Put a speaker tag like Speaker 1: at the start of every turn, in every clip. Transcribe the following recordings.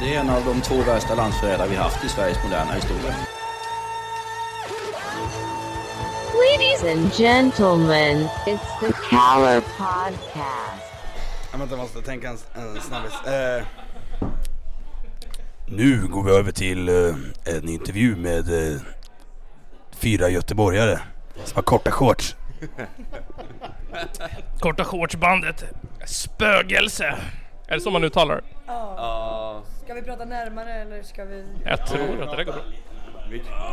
Speaker 1: Det är en av de två värsta landsförrädare vi haft i Sveriges moderna historia.
Speaker 2: Ladies and gentlemen, it's the Caller Podcast.
Speaker 3: Ja, vänta, jag måste tänka en, en snabbis. Eh. Nu går vi över till eh, en intervju med eh, fyra göteborgare som har korta shorts.
Speaker 4: Korta shortsbandet Spögelse. Är det så man uttalar det?
Speaker 5: Ska vi prata närmare eller ska vi...
Speaker 4: Jag tror att det där går bra.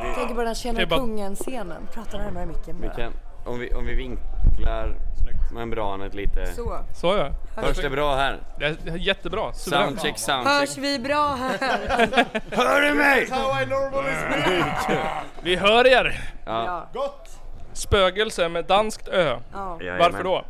Speaker 5: Jag tänker på den här Tjena
Speaker 4: Det är bara-
Speaker 5: kungen-scenen. Prata närmare micken bara.
Speaker 6: Kan, om, vi, om vi vinklar membranet lite.
Speaker 5: Så.
Speaker 4: Så ja.
Speaker 6: Hörs det bra här?
Speaker 4: Det är det är jättebra. Suveränt.
Speaker 6: Soundcheck, soundcheck.
Speaker 5: Hörs vi bra här?
Speaker 3: Hör du mig?
Speaker 4: Vi hör er!
Speaker 5: Ja.
Speaker 4: Spögelse med danskt ö.
Speaker 5: ja.
Speaker 4: Varför då?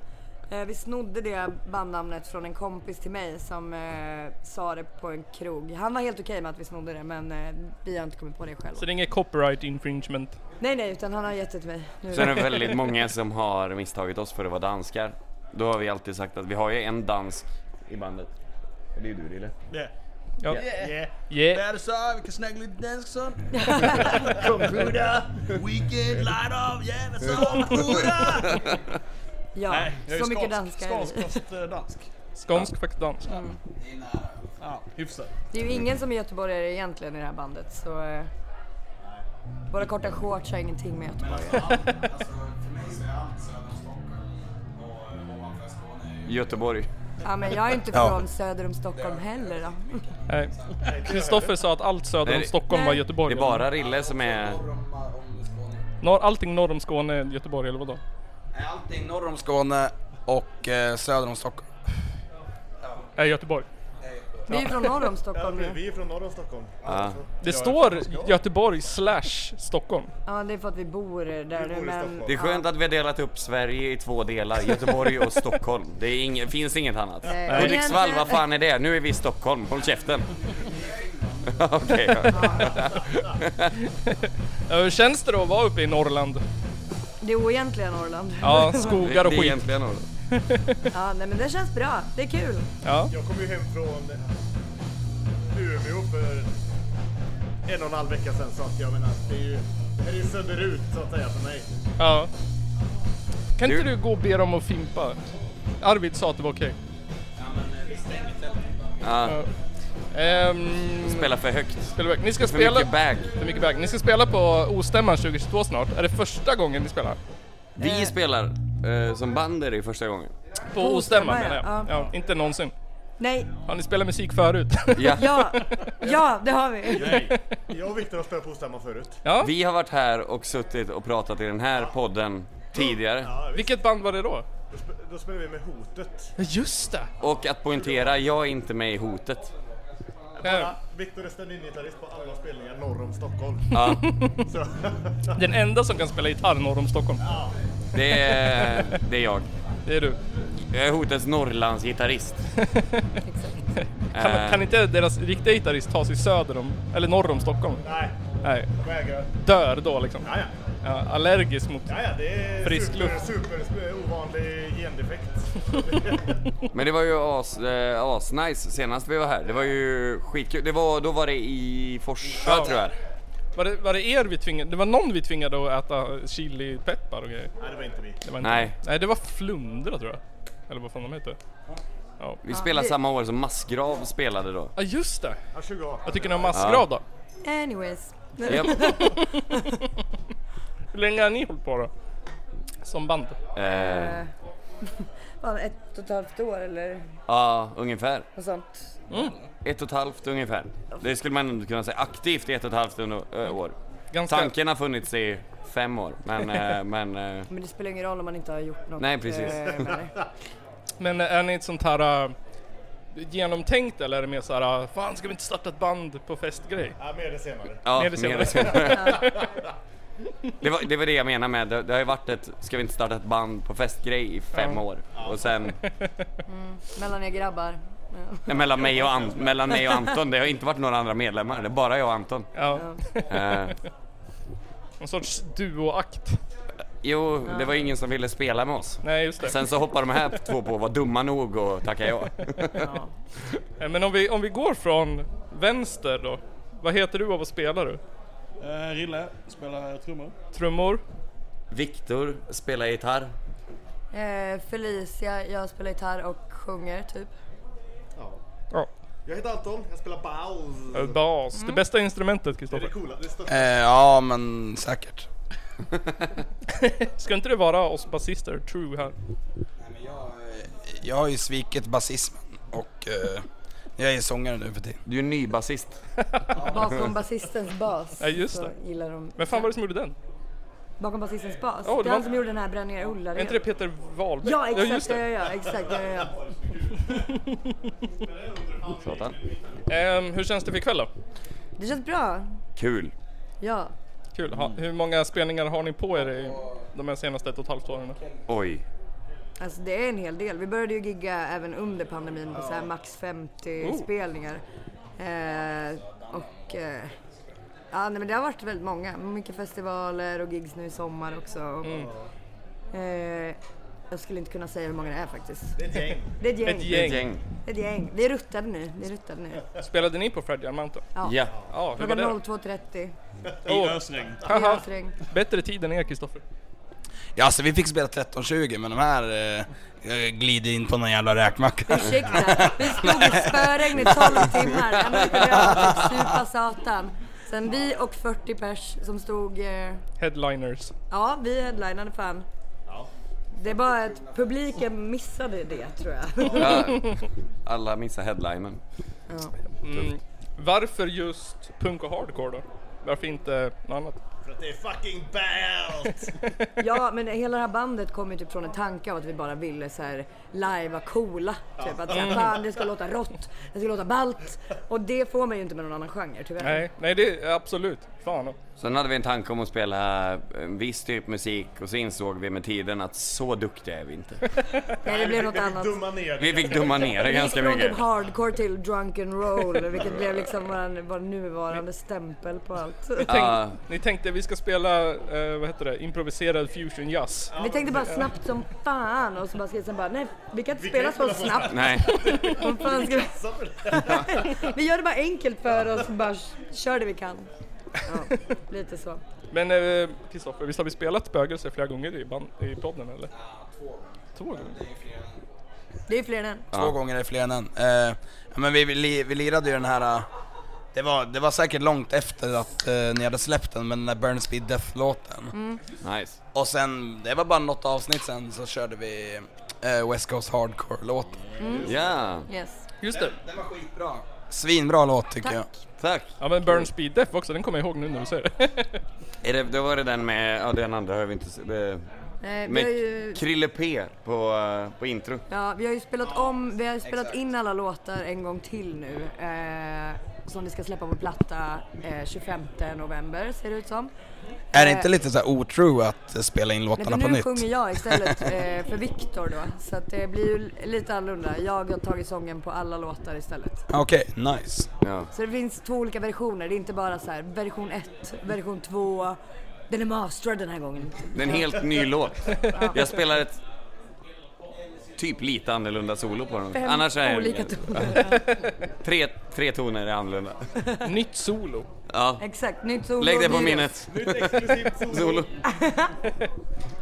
Speaker 5: Eh, Vi snodde det bandnamnet från en kompis till mig som eh, sa det på en krog. Han var helt okej med att vi snodde det men eh, vi har inte kommit på det själva.
Speaker 4: Så det är inget copyright infringement.
Speaker 5: Nej nej, utan han har gett det till mig. Nu.
Speaker 6: Så är det väldigt många som har misstagit oss för att vara danskar. Då har vi alltid sagt att vi har ju en dansk i bandet. Och det är du Rille.
Speaker 4: Ja.
Speaker 7: Yeah.
Speaker 4: Yeah.
Speaker 7: Där så, vi kan snacka lite dansk sån. Computer, weekend, light up, yeah, that's all. Computer!
Speaker 5: Ja, så mycket danskar är vi.
Speaker 7: Skånsk, eh, dansk.
Speaker 4: Skånsk fast dansk.
Speaker 7: Ja, hyfsat.
Speaker 5: Det är ju ingen som är göteborgare egentligen i det här bandet så... eh, Våra korta shorts har ingenting med Göteborg att göra.
Speaker 6: Göteborg.
Speaker 5: Ja men jag är inte
Speaker 3: Ja.
Speaker 5: från söder om Stockholm heller då.
Speaker 4: Nej. Kristoffer sa att allt söder om
Speaker 6: Nej,
Speaker 4: Stockholm var
Speaker 5: nej.
Speaker 6: Det
Speaker 4: Göteborg.
Speaker 6: är bara Rille som är...
Speaker 4: Norr, allting norr om Skåne är Göteborg eller vadå?
Speaker 3: Allting norr om Skåne och eh, söder om Stockholm.
Speaker 4: Är Göteborg.
Speaker 5: Vi är ju från norr om Stockholm ju.
Speaker 8: Vi är från norra om Stockholm.
Speaker 6: Ja.
Speaker 4: Det står Göteborg slash Stockholm.
Speaker 5: Ja det är för att vi bor där nu
Speaker 8: bor i
Speaker 5: men...
Speaker 8: Stockholm.
Speaker 6: Det är skönt att vi har delat upp Sverige i två delar, Göteborg och Stockholm. Det är ing- finns inget annat.
Speaker 5: Nej.
Speaker 6: Hudiksvall, vad fan är det? Nu är vi i Stockholm, håll käften. Okej.
Speaker 4: Ja, Hur känns det då att vara uppe i Norrland?
Speaker 5: Det är oegentliga Norrland.
Speaker 4: Ja, skogar och
Speaker 6: Det är
Speaker 4: skit.
Speaker 6: egentligen något.
Speaker 5: Ja nej men det känns bra, det är kul.
Speaker 4: Ja.
Speaker 8: Jag kom ju hem från Umeå för en och en halv vecka sedan så att jag menar, det är ju det här är ju söderut så att säga för mig.
Speaker 4: Ja. Kan inte
Speaker 6: Du-
Speaker 4: du gå och be dem att fimpa? Arvid sa att det var okej.
Speaker 6: Ja,
Speaker 4: Ehm,
Speaker 6: spela för högt.
Speaker 4: spela back. Ni ska
Speaker 6: För
Speaker 4: spela...
Speaker 6: mycket bag.
Speaker 4: För mycket bag. Ni ska spela på Ostämman 2022 snart. Är det första gången ni spelar?
Speaker 6: Vi spelar eh, som band är det första gången.
Speaker 4: På
Speaker 5: Ostämman,
Speaker 4: Ostämman menar jag.
Speaker 5: ja.
Speaker 4: Ja, inte någonsin.
Speaker 5: Nej,
Speaker 4: Har ni spelat musik förut?
Speaker 6: Ja.
Speaker 5: ja, ja det har vi.
Speaker 8: Nej, jag och Viktor har spelat på Ostämman förut.
Speaker 4: ja.
Speaker 6: Vi har varit här och suttit och pratat i den här podden tidigare.
Speaker 4: Vilket band var det då?
Speaker 8: Då, sp- då spelar vi med Hotet.
Speaker 4: Ja, just det!
Speaker 6: Och att poängtera, jag är inte med i hotet.
Speaker 4: Ja.
Speaker 8: Viktor är standingitarrist på alla spelningar norr om Stockholm.
Speaker 6: Ja,
Speaker 8: Så,
Speaker 4: Den enda som kan spela gitarr norr om Stockholm.
Speaker 6: det är, det är jag.
Speaker 4: Det är du.
Speaker 6: Jag är hotets Norrlandsgitarrist.
Speaker 4: Kan, kan inte deras riktiga gitarrist ta sig söder om... Eller norr om Stockholm?
Speaker 8: nej,
Speaker 4: Nej.
Speaker 8: vägrar.
Speaker 4: Dör då liksom.
Speaker 8: Ja, ja.
Speaker 4: Ja, allergisk mot...
Speaker 8: Ja, ja, det är
Speaker 4: Frisk
Speaker 8: super,
Speaker 4: luft.
Speaker 8: super, super ovanlig gendefekt.
Speaker 6: Men det var ju as, eh, asnice senast vi var här. Det var ju skitkul. Det var, då var det i Forsa
Speaker 4: Ja.
Speaker 6: tror jag.
Speaker 4: Var det, var det er vi tvingade? Det var någon vi tvingade att äta chilipeppar och grejer.
Speaker 8: Nej, det var inte vi.
Speaker 4: Det var inte,
Speaker 6: Nej.
Speaker 4: Nej, det var flundra tror jag. Eller vad fan de heter.
Speaker 6: Vi spelade samma år som Massgrav spelade då.
Speaker 4: Ja just det!
Speaker 8: Ja, 20
Speaker 4: Vad tycker ni om massgrav då?
Speaker 5: Anyways.
Speaker 6: Japp.
Speaker 4: Hur länge har ni hållit på då? Som band?
Speaker 6: Eh,
Speaker 5: Fan, ett och ett halvt år eller
Speaker 6: Ja, ungefär.
Speaker 5: något sånt.
Speaker 6: Ett och ett halvt ungefär. Det skulle man ändå kunna säga. Aktivt i ett och ett halvt under- ö, år.
Speaker 4: Ganska...
Speaker 6: Tanken har funnits i fem år, men... eh, men eh,
Speaker 5: Men det spelar ingen roll om man inte har gjort något.
Speaker 6: Nej, precis.
Speaker 5: eh, med det.
Speaker 4: Men är ni ett sånt här äh, genomtänkt eller är det mer så här äh, Fan ska vi inte starta ett band på festgrej?
Speaker 8: Ja, mer det senare.
Speaker 6: ja,
Speaker 4: Mer det
Speaker 6: mer
Speaker 4: senare.
Speaker 6: det senare. Det var, det var det jag menade med, det, det har ju varit ett, ska vi inte starta ett band på festgrej i fem
Speaker 4: Ja.
Speaker 6: år? Och sen,
Speaker 5: Mellan er grabbar.
Speaker 6: eh, mellan mig, och An, mellan mig och Anton, det har inte varit några andra medlemmar, det är bara jag och Anton.
Speaker 4: Ja,
Speaker 6: Eh,
Speaker 4: någon sorts duoakt.
Speaker 6: jo, det var ju ingen som ville spela med oss.
Speaker 4: Nej just det.
Speaker 6: Sen så hoppade de här två på, var dumma nog och tackade ja.
Speaker 5: Ja.
Speaker 4: Eh, Men om vi, om vi går från Vänster då? Vad heter du och vad spelar du?
Speaker 9: Eh, Rille spelar trummor.
Speaker 4: Trummor?
Speaker 6: Viktor spelar gitarr.
Speaker 5: Eh, Felicia, jag spelar gitarr och sjunger typ.
Speaker 4: Ja.
Speaker 8: Jag heter Anton, jag spelar Baus.
Speaker 4: Eh, Bas. Det bästa instrumentet
Speaker 8: Det är det
Speaker 4: Kristoffer.
Speaker 8: coola, det största.
Speaker 3: Eh, ja, men säkert.
Speaker 4: Ska inte det vara oss basister, True här?
Speaker 3: Jag har ju svikit basismen och eh, jag är sångare nu för tiden.
Speaker 6: Du är ny basist.
Speaker 5: Bakom basistens bas.
Speaker 4: Ja, just
Speaker 5: så
Speaker 4: det.
Speaker 5: Gillar de.
Speaker 4: Men fan var det som gjorde den?
Speaker 5: Bakom basistens bas?
Speaker 4: Ja, det
Speaker 5: det,
Speaker 4: var-
Speaker 5: är han som gjorde den här Bränn ner Ullared.
Speaker 4: Är inte det Peter Wahlbeck?
Speaker 5: Ja
Speaker 4: Ja, just
Speaker 5: exakt, ja,
Speaker 4: det.
Speaker 5: ja, ja, exakt, ja, ja, ja.
Speaker 6: Satan.
Speaker 4: Ehm, hur känns det för ikväll då?
Speaker 5: Det känns bra.
Speaker 6: Kul.
Speaker 5: Ja.
Speaker 4: Kul. Ha, hur många spelningar har ni på er i de här senaste ett och ett halvt åren?
Speaker 6: Oj.
Speaker 5: Alltså det är en hel del. Vi började ju gigga även under pandemin på så här max 50
Speaker 4: Oh.
Speaker 5: spelningar. Eh, och eh, ja, nej, men det har varit väldigt många. Mycket festivaler och gigs nu i sommar också. Och,
Speaker 4: Mm.
Speaker 5: eh, jag skulle inte kunna säga hur många det är faktiskt.
Speaker 8: Det är ett gäng.
Speaker 5: Det är ett gäng.
Speaker 4: Ett gäng.
Speaker 6: Gäng.
Speaker 5: Det är ett gäng. Vi är ruttade nu. Vi är ruttade nu.
Speaker 4: Spelade ni på Freddy Mountain?
Speaker 5: Ja.
Speaker 6: Ja.
Speaker 4: Ja, hur var
Speaker 5: Klockan
Speaker 4: det?
Speaker 5: 02.30.
Speaker 9: I
Speaker 4: Åh.
Speaker 9: ösregn.
Speaker 4: Haha.
Speaker 5: Ösregn.
Speaker 4: Bättre tid än er Kristoffer.
Speaker 3: Ja, alltså vi fick spela 13.20 men de här eh, glider in på någon jävla räkmacka.
Speaker 5: Ursäkta, vi stod i spöregn i 12 timmar. Det enda vi kunde göra var att supa satan. Sen vi och 40 pers som stod... eh,
Speaker 4: Headliners.
Speaker 5: Ja, vi headlinade fan. Det är bara att publiken missade det tror jag.
Speaker 6: Ja. Alla missar headlinen.
Speaker 4: Mm. Varför just punk och hardcore då? Varför inte något annat?
Speaker 8: För att det är fucking Baus!
Speaker 5: Ja, men hela det här bandet kom ju typ från en tanke av att vi bara ville så här lajva coola. Typ att så här, fan det ska låta rått, det ska låta ballt. Och det får man ju inte med någon annan genre tyvärr.
Speaker 4: Nej, nej det är absolut. Fan.
Speaker 6: Sen hade vi en tanke om att spela en viss typ musik och så insåg vi med tiden att så duktiga är vi inte.
Speaker 5: Nej, det blev något annat.
Speaker 8: Dumma ner
Speaker 6: Vi fick dumma ner det
Speaker 5: Vi gick
Speaker 6: ganska
Speaker 5: från
Speaker 6: mycket.
Speaker 5: typ hardcore till drunken roll vilket blev liksom vår, vår nuvarande stämpel på allt.
Speaker 4: Tänk,
Speaker 6: Ah.
Speaker 4: Ni tänkte vi ska spela, eh, vad heter det, improviserad fusion jazz.
Speaker 5: Vi tänkte bara snabbt som fan och så bara skrev sen bara nej vi kan inte spela så snabbt.
Speaker 6: Nej,
Speaker 5: Vad fan ska vi... vi gör det bara enkelt för oss och bara kör det vi kan. Ja, lite så.
Speaker 4: Men eh, Kristoffer, visst har vi spelat spögelse flera gånger i, band, i podden eller? Två gånger.
Speaker 5: Det är fler än en.
Speaker 3: Två gånger är fler än en. Eh, ja, men vi, vi, li- vi lirade ju den här, eh, det var, det var säkert långt efter att eh, ni hade släppt den, men den där Burn Speed Death-låten.
Speaker 6: nice.
Speaker 3: Och sen, det var bara något avsnitt sen så körde vi eh, West Coast Hardcore-låten.
Speaker 6: Ja,
Speaker 5: Yes.
Speaker 4: Just det.
Speaker 3: Den var skitbra. Svinbra låt tycker jag.
Speaker 6: tack.
Speaker 4: Ja men Burn Speed Death också, den kommer jag ihåg nu när du säger det.
Speaker 6: Är det, då var det den med, ja den andra har vi inte sett. Det-
Speaker 5: Eh, vi,
Speaker 6: Med
Speaker 5: har ju,
Speaker 6: Krille P på, eh, på intro.
Speaker 5: ja, vi har ju spelat om, vi har ju spelat in alla låtar en gång till nu. Eh, som vi ska släppa på platta eh, 25 november ser det ut som.
Speaker 3: Är det inte lite så här otrue att eh, spela in
Speaker 5: Eh. Nej,
Speaker 3: låtarna
Speaker 5: för
Speaker 3: på
Speaker 5: nu
Speaker 3: nytt?
Speaker 5: sjunger jag istället eh, för Viktor då. Så att det blir ju lite annorlunda. Jag har tagit sången på alla låtar istället.
Speaker 3: Okej, nice.
Speaker 6: Ja.
Speaker 5: Så det finns två olika versioner. Det är inte bara så här version 1, version 2. Den är mastrad den här gången.
Speaker 6: Det är en helt ny låt. Jag spelar ett typ lite annorlunda solo på den.
Speaker 5: Fem
Speaker 6: Annars är
Speaker 5: olika
Speaker 6: det
Speaker 5: toner.
Speaker 6: tre, tre toner är annorlunda.
Speaker 4: Nytt solo.
Speaker 6: Ja.
Speaker 5: Exakt, nytt solo.
Speaker 6: Lägg det på
Speaker 5: ny
Speaker 6: minnet. Solo.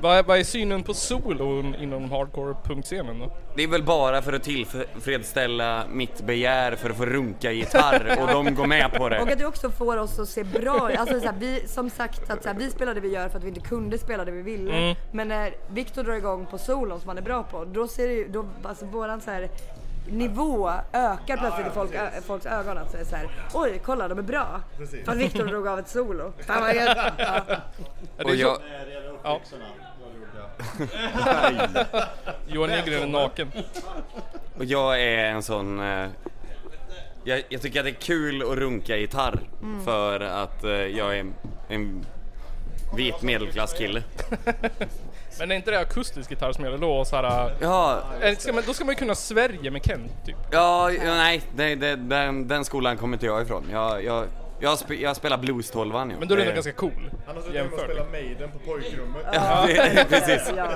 Speaker 4: Vad är, vad är synen på solon inom hardcore-punkscenen då?
Speaker 6: Det är väl bara för att tillfredsställa mitt begär för att få runka gitarr och de går med på
Speaker 5: Och
Speaker 6: det.
Speaker 5: att det också får oss att se bra ut. Alltså så här, vi, som sagt, att så här, vi spelar det vi gör för att vi inte kunde spela det vi ville. Men när Viktor drar igång på solon som han är bra på, då ser det ju, då, alltså våran så här nivå ökar plötsligt i folk, ö, folks ögon. Att säga så här, oj kolla de är bra. För att Viktor drog av ett solo. Fan vad gött. Ja.
Speaker 4: Är det
Speaker 6: Och jag,
Speaker 4: så- Johan Nygren är naken.
Speaker 6: och jag är en sån... eh, Jag, jag tycker att det är kul att runka gitarr
Speaker 4: Mm.
Speaker 6: för att eh, jag är en vit medelklasskille.
Speaker 4: Men är inte det akustisk gitarr som gäller då? Och så här, äh,
Speaker 6: Ja,
Speaker 4: eller ska man, då ska man ju kunna Sverige med Kent typ.
Speaker 6: Ja, ja, nej, det, det, den, den skolan kommer inte jag ifrån. Jag, jag, jag, spe, jag spelar blues-tolvan ju.
Speaker 4: Men då är den
Speaker 6: Det-
Speaker 4: ganska cool.
Speaker 8: Han har suttit hemma och
Speaker 4: Jämfört.
Speaker 8: spelat Maiden på pojkrummet.
Speaker 6: Ja, det- precis.
Speaker 5: Ja.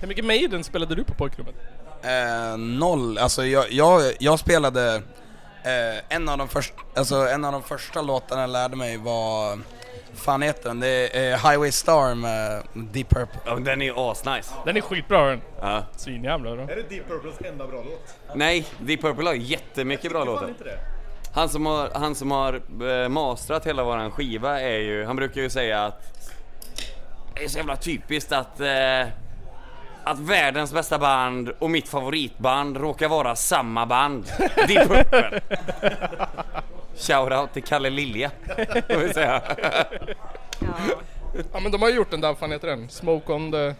Speaker 4: Hur mycket Maiden spelade du på pojkrummet?
Speaker 3: Eh, noll, alltså jag, jag, jag spelade Eh, en, av de först, alltså, en av de första låtarna jag lärde mig var, fan heter den? Det är eh, Highway Star med Deep Purple.
Speaker 6: Ja, men den är ju asnice.
Speaker 4: Den är skitbra den.
Speaker 6: Ja.
Speaker 4: Svinjävlar då.
Speaker 8: Är det Deep Purples enda bra låt?
Speaker 6: Nej, Deep Purple har jättemycket bra
Speaker 8: Fan
Speaker 6: låtar.
Speaker 8: inte det.
Speaker 6: Han som har, han som har eh, mastrat hela våran skiva är ju, han brukar ju säga att det är så jävla typiskt att, eh, att världens bästa band och mitt favoritband råkar vara samma band. Deep Purple. Shoutout till Kalle Lilja, får vi säga.
Speaker 5: Ja.
Speaker 4: Ja men de har ju gjort den där, vad fan heter den? Smoke on the... Ja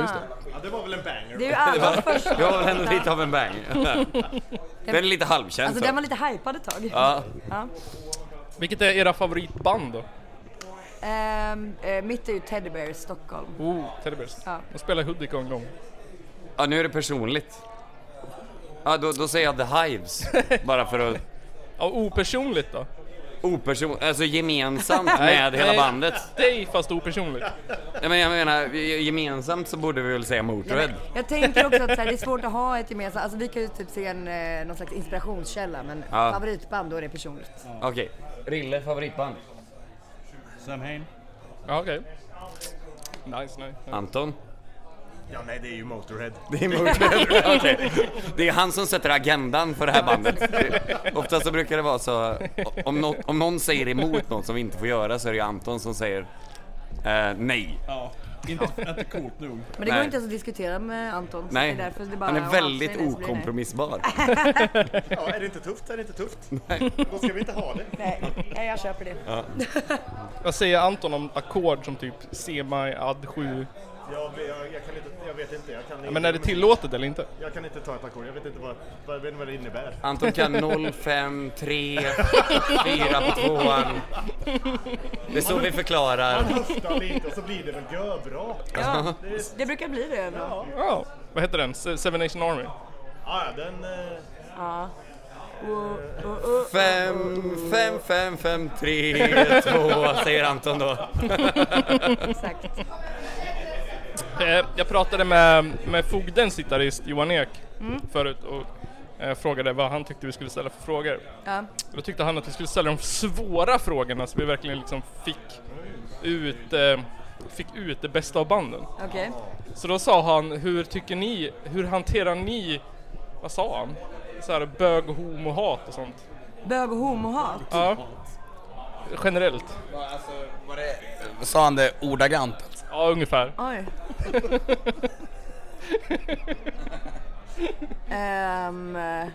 Speaker 4: just det.
Speaker 8: Ja, det var väl en banger.
Speaker 5: Det är ju allas första
Speaker 6: Det var väl ändå lite av en bang. Den är lite halvkänd.
Speaker 5: Alltså
Speaker 6: så.
Speaker 5: den var lite hypad ett tag.
Speaker 6: ja.
Speaker 5: Ja.
Speaker 4: Vilket är era favoritband då?
Speaker 5: Ehm, eh, mitt är ju Teddy Bears Stockholm.
Speaker 4: Oh, Teddy Bears.
Speaker 5: Ja.
Speaker 4: De spelade Hudik en gång.
Speaker 6: ja, nu är det personligt. Ja, då, då säger jag The Hives, bara för att
Speaker 4: Ja, opersonligt då?
Speaker 6: operson... Alltså gemensamt med hela
Speaker 4: nej.
Speaker 6: bandet.
Speaker 4: Dig fast opersonligt.
Speaker 6: Ja, men jag menar, ge- gemensamt så borde vi väl säga Motörhead.
Speaker 5: Jag tänker också att så här, det är svårt att ha ett gemensamt, alltså vi kan ju typ se en, eh, någon slags inspirationskälla men
Speaker 6: Ja.
Speaker 5: favoritband då är det personligt.
Speaker 6: Okej. Rille, favoritband?
Speaker 9: Sam Hain.
Speaker 4: Ja okej. Nice, nice.
Speaker 6: Anton?
Speaker 8: Ja, nej, det är ju Motorhead.
Speaker 6: Det är Motörhead. Okej. Det är han som sätter agendan för det här bandet. Det- Oftast så brukar det vara så, om, nå- om någon säger emot något som vi inte får göra så är det ju Anton som säger eh, nej.
Speaker 9: Ja, inte, inte coolt nog.
Speaker 5: Men det
Speaker 6: Nej.
Speaker 5: går inte ens att diskutera med Anton. så
Speaker 6: Nej,
Speaker 5: det är därför det bara,
Speaker 6: han är
Speaker 5: och
Speaker 6: väldigt
Speaker 5: avslöjar det som blir nej.
Speaker 6: okompromissbar.
Speaker 8: Ja, är det inte tufft? Är det inte tufft? Då ska vi inte ha det.
Speaker 5: Nej, nej, jag köper det.
Speaker 4: Vad säger Anton om ackord som typ C-maj-add 7?
Speaker 8: Jag, jag, jag kan inte, jag vet inte. Jag kan inte
Speaker 4: Men är det tillåtet eller inte?
Speaker 8: Jag kan inte ta ett ackord. Jag vet inte vad, vad, jag vet inte vad det innebär.
Speaker 6: Anton kan 0, 5, 3, 4 på tvåan. Det är så vi förklarar.
Speaker 8: Höfta lite och så blir det väl görbra.
Speaker 5: Ja, det brukar bli det ändå.
Speaker 4: Ja. Vad heter den? Se- Seven Nation Army?
Speaker 8: Ja, ja, den... Eh,
Speaker 5: Ja. Och, och, och.
Speaker 6: Fem, fem, fem, fem, tre, två, säger Anton då.
Speaker 5: Exakt.
Speaker 4: Eh, Jag pratade med, med fogdens gitarrist Johan Ek
Speaker 5: Mm.
Speaker 4: förut och eh, frågade vad han tyckte vi skulle ställa för frågor.
Speaker 5: Ja.
Speaker 4: Då tyckte han att vi skulle ställa de svåra frågorna så vi verkligen liksom fick ut, eh, fick ut det bästa av banden.
Speaker 5: Okej.
Speaker 4: Så då sa han, hur tycker ni, hur hanterar ni, vad sa han? Så här bög, homo, hat och sånt.
Speaker 5: Bög och homohat.
Speaker 4: Ja. Generellt.
Speaker 3: alltså, Sa han det ordagrant?
Speaker 4: Ja, ungefär.
Speaker 5: Oj. Ehm,
Speaker 4: Det är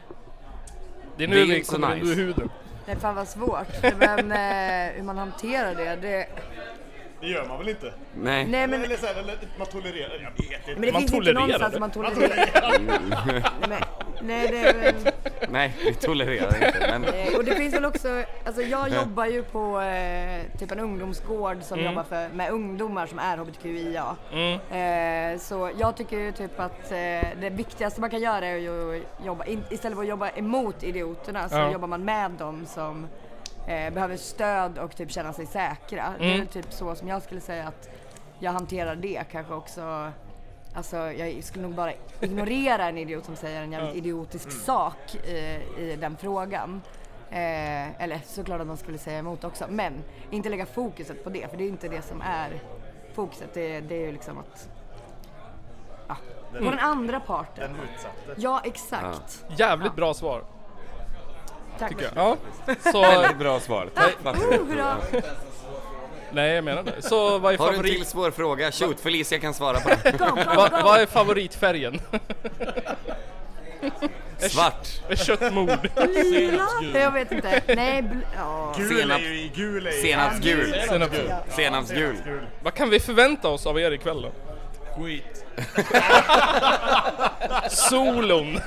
Speaker 6: Det
Speaker 4: nu
Speaker 6: är
Speaker 4: vi
Speaker 6: inte så
Speaker 4: kommer
Speaker 6: nice.
Speaker 4: ur huden.
Speaker 5: nej fan vad svårt. Men eh, hur man hanterar det. det
Speaker 8: det gör man väl inte?
Speaker 6: Nej.
Speaker 5: nej men,
Speaker 8: Eller så här, eller, man tolererar... Jag vet inte.
Speaker 5: men det
Speaker 4: Man
Speaker 5: finns inte
Speaker 4: tolererar
Speaker 5: någonstans
Speaker 4: det.
Speaker 5: att man tolererar. nej, nej det är väl...
Speaker 6: Nej, vi tolererar inte. Men
Speaker 5: Eh, Och det finns väl också, alltså jag jobbar ju på eh, typ en ungdomsgård som
Speaker 4: Mm.
Speaker 5: jobbar för, med ungdomar som är hbtqia. Eh, så jag tycker ju typ att eh, det viktigaste man kan göra är ju att jobba, in, istället för att jobba emot idioterna så
Speaker 4: Ja.
Speaker 5: jobbar man med dem som eh, behöver stöd och typ känna sig säkra. Det är väl typ så som jag skulle säga att jag hanterar det kanske också. Alltså jag skulle nog bara ignorera en idiot som säger en jävligt idiotisk sak i, i den frågan. Eh, eller såklart att man skulle säga emot också men inte lägga fokuset på det för det är inte det som är fokuset. Det, det är ju liksom att... Ja. På den andra parten.
Speaker 8: Den utsatte.
Speaker 5: Ja exakt.
Speaker 4: Jävligt bra svar.
Speaker 5: Tack.
Speaker 4: tycker jag. Ja. Så,
Speaker 6: väldigt bra svar. Tack.
Speaker 5: Oh, hurra.
Speaker 4: nej jag menar det. Så vad är,
Speaker 6: Har du en till
Speaker 4: favorit,
Speaker 6: svår fråga? Shoot, Felicia kan svara på den.
Speaker 5: Go, go,
Speaker 4: vad,
Speaker 5: go.
Speaker 4: vad är favoritfärgen?
Speaker 6: Svart.
Speaker 4: Köttmord.
Speaker 5: Lila? Jag vet inte. Nej, bl- ja.
Speaker 8: Gul är ju... Gul är ju...
Speaker 6: Senapsgul.
Speaker 4: Senapsgul.
Speaker 6: Senapsgul.
Speaker 4: Vad kan vi förvänta oss av er ikväll då?
Speaker 9: Skit.
Speaker 4: Solon!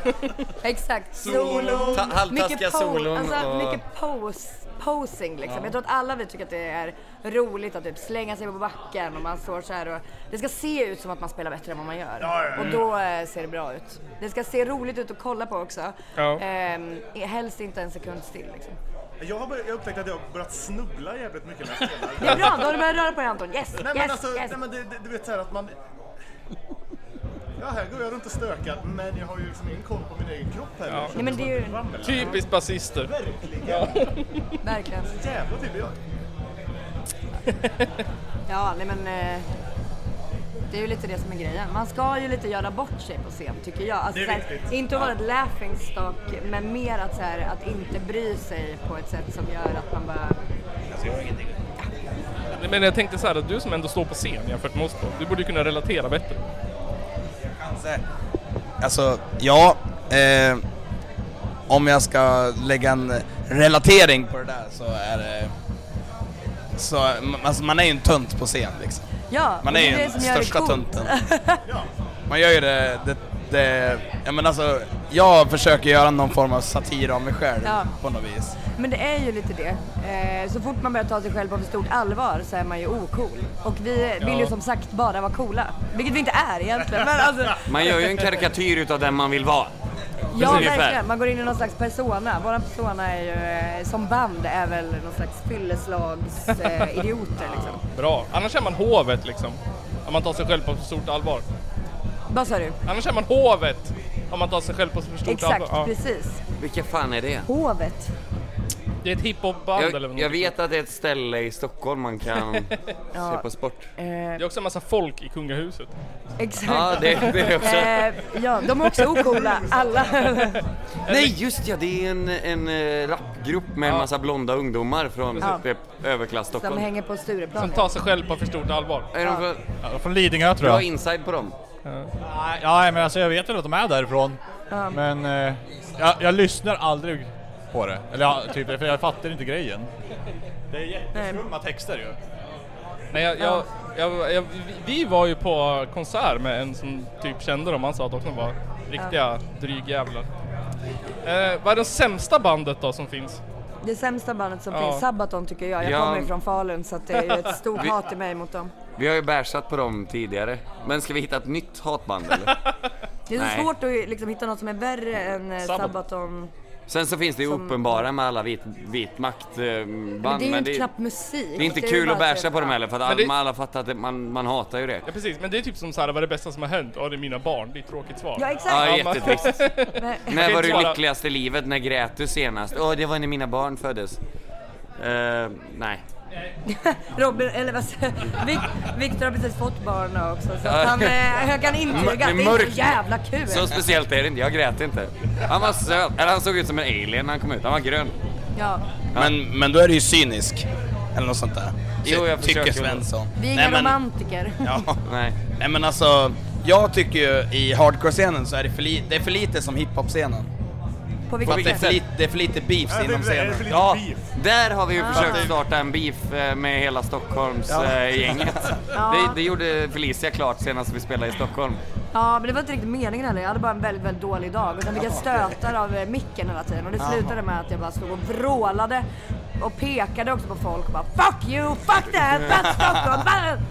Speaker 5: Exakt. Solo.
Speaker 6: Ta- halvtaskiga
Speaker 5: Mycket po-
Speaker 6: solon
Speaker 5: Alltså
Speaker 6: och-
Speaker 5: mycket pose, posing liksom. Jag tror att alla vi tycker att det är roligt att typ slänga sig på backen och man står så här och det ska se ut som att man spelar bättre än vad man gör. Och då eh, ser det bra ut. Det ska se roligt ut att kolla på också.
Speaker 4: Ja.
Speaker 5: Ehm, helst inte en sekund still liksom.
Speaker 8: Jag har börjat, jag har upptäckt att jag har börjat snubbla jävligt mycket när jag spelar.
Speaker 5: Det är bra, då har du börjat röra på dig Anton. Yes,
Speaker 8: Nej men
Speaker 5: yes,
Speaker 8: alltså,
Speaker 5: yes.
Speaker 8: nej, men det, det, du vet såhär att man... Ja, här här går jag runt och stökar, men jag har ju liksom ingen koll på min egen kropp heller.
Speaker 4: Ja.
Speaker 8: Så
Speaker 5: Nej men det är ju
Speaker 8: Vammel.
Speaker 4: Typiskt basister.
Speaker 8: Verkligen!
Speaker 5: verkligen.
Speaker 8: Jävla typ jag.
Speaker 5: Ja, nej men eh, det är ju lite det som är grejen. Man ska ju lite göra bort sig på scen tycker jag. Alltså,
Speaker 8: Det är
Speaker 5: så här,
Speaker 8: viktigt.
Speaker 5: Inte att vara ett laughingstock men mer att, så här, att inte bry sig på ett sätt som gör att man bara...
Speaker 4: Nej, Men jag tänkte så här att du som ändå står på scen jämfört med oss då, du borde ju kunna relatera bättre.
Speaker 3: Kanske. Alltså, ja. Eh, om jag ska lägga en relatering på det där så är det... Så, alltså, man är ju en tönt på scen liksom.
Speaker 5: Ja,
Speaker 3: Man
Speaker 5: och
Speaker 3: är
Speaker 5: det
Speaker 3: ju
Speaker 5: det
Speaker 3: den
Speaker 5: som gör det
Speaker 3: största
Speaker 5: coolt.
Speaker 3: tönten. Man gör ju det, det, det... Ja men alltså, jag försöker göra någon form av satir av mig själv
Speaker 5: Ja.
Speaker 3: på något vis.
Speaker 5: Men det är ju lite det. Eh, så fort man börjar ta sig själv på för stort allvar så är man ju ocool. Och vi vill ju som sagt bara vara coola. Vilket vi inte är egentligen. Men alltså,
Speaker 6: Man gör ju en karikatyr utav den man vill vara.
Speaker 5: ja
Speaker 6: ungefär.
Speaker 5: verkligen, man går in i någon slags persona. Våran persona är ju, eh, som band är väl någon slags fylleslags eh,
Speaker 6: Ah.
Speaker 5: idioter liksom.
Speaker 4: Bra. Annars är man hovet liksom. Om man tar sig själv på för stort allvar.
Speaker 5: Vad sa du?
Speaker 4: Annars är man hovet om man tar sig själv på för stort
Speaker 5: Exakt,
Speaker 4: allvar. Ja.
Speaker 5: precis.
Speaker 6: Vilka fan är det?
Speaker 5: Hovet.
Speaker 4: Det är ett hiphopband eller
Speaker 6: Jag,
Speaker 4: något.
Speaker 6: jag vet att det är ett ställe i Stockholm man kan se på sport.
Speaker 4: Det är också en massa folk i kungahuset.
Speaker 5: Eh, Exakt.
Speaker 6: Ja, det, det är också.
Speaker 5: Eh, ja, de är också ocoola, alla.
Speaker 6: Nej just ja, det är en, en eh, rapgrupp med en massa blonda ungdomar från
Speaker 5: Ja.
Speaker 6: typ överklass
Speaker 5: Som
Speaker 6: Stockholm.
Speaker 5: hänger på Stureplan.
Speaker 4: Man tar sig själv på för stort allvar.
Speaker 6: Är de från,
Speaker 9: Ja, de är från Lidingö tror
Speaker 6: bra
Speaker 9: jag.
Speaker 6: inside på dem.
Speaker 9: Nej, ja, men alltså jag vet väl att de är därifrån. Men eh, jag, jag lyssnar aldrig på det. Eller ja, typ, för jag fattar inte grejen. Det är jätteskumma texter ju.
Speaker 4: Nej, jag, jag, jag, jag, vi var ju på konsert med en som typ kände dem. Han sa att de var riktiga drygjävlar. Eh, vad är det sämsta bandet då som finns?
Speaker 5: Det sämsta bandet som
Speaker 4: Ja.
Speaker 5: finns, Sabaton tycker jag. Jag
Speaker 6: Ja.
Speaker 5: kommer ju från Falun så att det är ju ett stort
Speaker 6: Vi-
Speaker 5: hat i mig mot dem.
Speaker 6: Vi har ju bärsat på dem tidigare. Men ska vi hitta ett nytt hatband eller?
Speaker 5: Det är så
Speaker 6: Nej.
Speaker 5: svårt att liksom hitta något som är värre än eh,
Speaker 4: Sabaton.
Speaker 5: Sabaton.
Speaker 6: Sen så finns det ju
Speaker 5: Som-
Speaker 6: uppenbara med alla vit, vitmaktband. Men
Speaker 5: Men det är ju inte
Speaker 6: det,
Speaker 5: knappt musik.
Speaker 6: det är inte
Speaker 5: ju
Speaker 6: kul
Speaker 5: bara
Speaker 6: att bärsa
Speaker 5: typ-
Speaker 6: på dem heller för att alla,
Speaker 4: det-
Speaker 6: alla fattar att det, man, man hatar ju det.
Speaker 4: Ja precis, men det är typ som så här, vad är det bästa som har hänt? Ja, det är mina barn. Det är ett tråkigt svar.
Speaker 5: Ja
Speaker 6: Ja,
Speaker 5: exakt.
Speaker 6: jättetrist.
Speaker 5: Men-
Speaker 6: När var
Speaker 4: inte
Speaker 6: du
Speaker 4: svara.
Speaker 6: lyckligast i livet? När grät du senast? Åh, det var när mina barn föddes. Eh, nej.
Speaker 5: Robin, eller vad säger Vic- Victor har precis fått barn nu också så att han, eh, jag kan intyga att det
Speaker 6: Det är
Speaker 5: är inte
Speaker 6: mörkt.
Speaker 5: så jävla kul.
Speaker 6: Så speciellt är det inte, jag grät inte. Han var söt, eller han såg ut som en alien när han kom ut, han var grön.
Speaker 5: Ja.
Speaker 3: Men, men då är det ju cynisk. Eller något sånt där.
Speaker 6: Jo, jag
Speaker 3: Tycker
Speaker 6: försöker.
Speaker 3: Svensson.
Speaker 5: Vi är
Speaker 3: Nej,
Speaker 5: inga
Speaker 3: men-
Speaker 5: romantiker.
Speaker 3: Ja.
Speaker 6: Nej.
Speaker 3: Nej men alltså, jag tycker ju i hardcore-scenen så är det för, li- det är för lite som hiphop-scenen.
Speaker 5: På
Speaker 3: För att det
Speaker 5: vilket
Speaker 3: är för,
Speaker 5: sätt?
Speaker 3: li- det är för lite beefs
Speaker 8: Ja, det är-
Speaker 3: inom
Speaker 8: det är
Speaker 3: scenen.
Speaker 8: för lite-
Speaker 6: Ja,
Speaker 8: beef.
Speaker 6: där har vi ju försökt starta en beef eh, med hela Stockholms eh, gänget. Det, det gjorde Felicia klart senast vi spelade i Stockholm.
Speaker 5: Ja, men det var inte riktigt meningen heller. Jag hade bara en väldigt, väldigt dålig dag. Och sen fick jag stötar av eh, micken hela tiden. Och det slutade med att jag bara stod och vrålade och pekade också på folk och bara Fuck you, fuck that, fuck Stockholm, bara-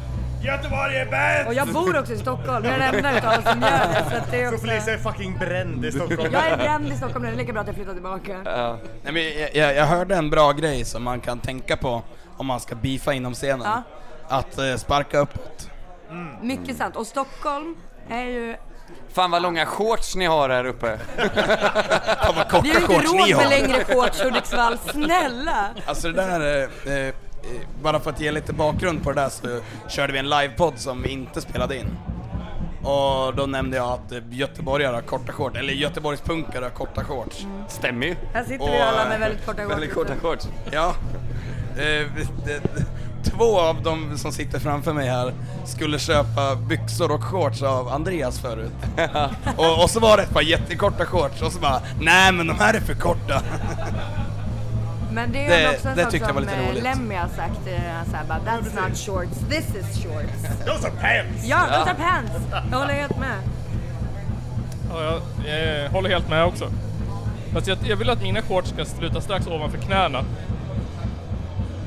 Speaker 8: Göteborg är bäst!
Speaker 5: Och jag bor också i Stockholm, jag är den enda utav oss som gör det. Så att det är
Speaker 8: Så
Speaker 5: också...
Speaker 8: Felicia är fucking bränd i Stockholm.
Speaker 5: Jag är bränd i Stockholm nu, det är lika bra att jag flyttar tillbaka.
Speaker 6: Ja.
Speaker 3: Nej, men jag, jag, jag hörde en bra grej som man kan tänka på om man ska beefa inom scenen.
Speaker 5: Ja.
Speaker 3: Att eh, sparka uppåt.
Speaker 5: Mycket sant. Och Stockholm är ju...
Speaker 6: Fan vad långa shorts ni har här uppe.
Speaker 3: Fan vad korta
Speaker 5: Vi har ju inte
Speaker 3: shorts ni
Speaker 5: råd med
Speaker 3: har.
Speaker 5: längre shorts Hudiksvall, snälla!
Speaker 3: Alltså det där, eh, eh, eh, bara för att ge lite bakgrund på det där så körde vi en livepodd som vi inte spelade in. Och då nämnde jag att eh, göteborgare har korta shorts, eller göteborgspunkare har korta shorts.
Speaker 5: Mm.
Speaker 6: Stämmer ju.
Speaker 5: Här sitter vi
Speaker 3: Och,
Speaker 5: alla med
Speaker 3: eh,
Speaker 5: väldigt korta
Speaker 6: Väldigt
Speaker 5: shorts.
Speaker 6: korta shorts.
Speaker 3: Ja. Eh, vi- det- det- Två av de som sitter framför mig här skulle köpa byxor och shorts av Andreas förut. och, och så var det ett par jättekorta shorts och så bara, nej men de här är för korta.
Speaker 5: Men det är
Speaker 3: Det-
Speaker 5: väl också en
Speaker 3: det
Speaker 5: sak
Speaker 3: tyckte jag var
Speaker 5: som
Speaker 3: lite
Speaker 5: eh,
Speaker 3: roligt.
Speaker 5: Lemmy har sagt, eh, såhär bara that's not shorts, this is shorts.
Speaker 8: Those are pants!
Speaker 5: Ja, those are pants! Jag håller helt med.
Speaker 4: Ja, jag eh, håller helt med också. Fast jag, jag vill att mina shorts ska sluta strax ovanför knäna.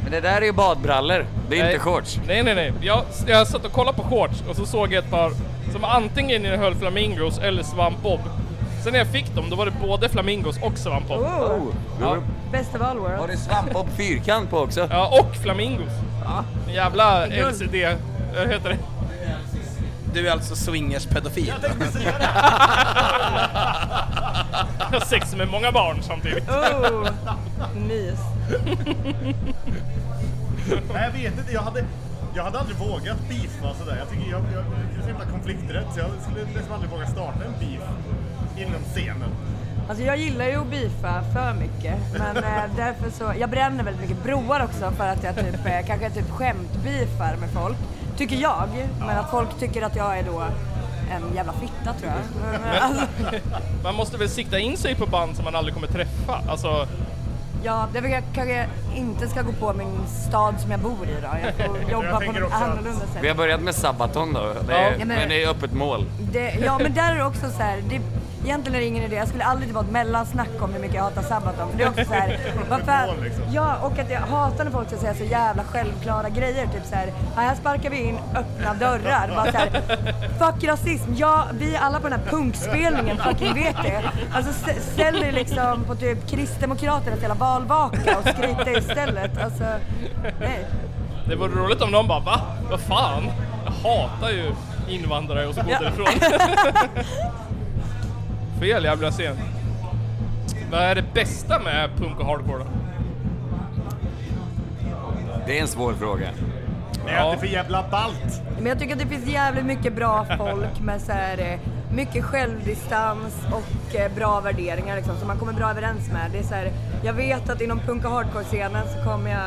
Speaker 6: Men det där är ju badbrallor, det är inte shorts.
Speaker 4: Nej, nej, nej. Jag, jag satt och kollade på shorts och så såg jag ett par som antingen innehöll flamingos eller svampbob. Sen när jag fick dem, då var det både flamingos och svampbob.
Speaker 5: Oh,
Speaker 6: Ja.
Speaker 5: best of all
Speaker 6: Har
Speaker 5: world.
Speaker 6: du svamp på fyrkant på också?
Speaker 4: Ja, och flamingos. En Jävla
Speaker 5: Vilken
Speaker 4: LCD... Vad heter det?
Speaker 3: Du är alltså swingers-pedofil?
Speaker 4: Jag har sex med många barn samtidigt.
Speaker 5: Oh, mys.
Speaker 8: Nej, jag vet inte. Jag hade, jag hade aldrig vågat beefa sådär. Jag tycker jag, jag, jag är så jävla konflikträdd så jag skulle liksom aldrig våga starta en beef inom scenen.
Speaker 5: Alltså jag gillar ju att beefa för mycket. Men eh, därför så, jag bränner väldigt mycket broar också för att jag typ, eh, kanske typ skämtbeefar med folk. Tycker jag. Men att folk tycker att jag är då en jävla fitta tror jag. Men, alltså,
Speaker 4: Man måste väl sikta in sig på band som man aldrig kommer träffa? Alltså,
Speaker 5: ja, därför jag kanske inte ska gå på min stad som jag bor i då. Jag får jobba på
Speaker 8: tänker
Speaker 5: något
Speaker 8: också att-
Speaker 5: annorlunda sätt.
Speaker 6: Vi har börjat med Sabaton då. Det är,
Speaker 5: Ja, men-
Speaker 6: men... det är öppet mål.
Speaker 5: Det, ja men där är det också så här, det, egentligen är det ingen idé, jag skulle aldrig vara ett mellansnack om hur mycket jag hatar Sabaton. För det är också så här, varför, ja och att jag hatar när folk ska säga så jävla självklara grejer. Typ så här, "Ja, här sparkar vi in öppna dörrar. Bara så här, fuck rasism, ja vi alla på den här punkspelningen fucking vet det. Alltså st- ställ dig liksom på typ Kristdemokraternas jävla valvaka och skrik det istället. Alltså, nej.
Speaker 4: det vore roligt om någon bara va? Vad fan? Jag hatar ju invandrare och så går därifrån. Fel jävla scen. Vad är det bästa med punk och hardcore då?
Speaker 6: Det är en svår fråga.
Speaker 8: Det är
Speaker 4: Ja.
Speaker 8: alltid för jävla ballt.
Speaker 5: Men jag tycker att det finns jävligt mycket bra folk med så här, eh, mycket självdistans och eh, bra värderingar liksom, som man kommer bra överens med. Det är så här, jag vet att inom punk och hardcore-scenen så kommer jag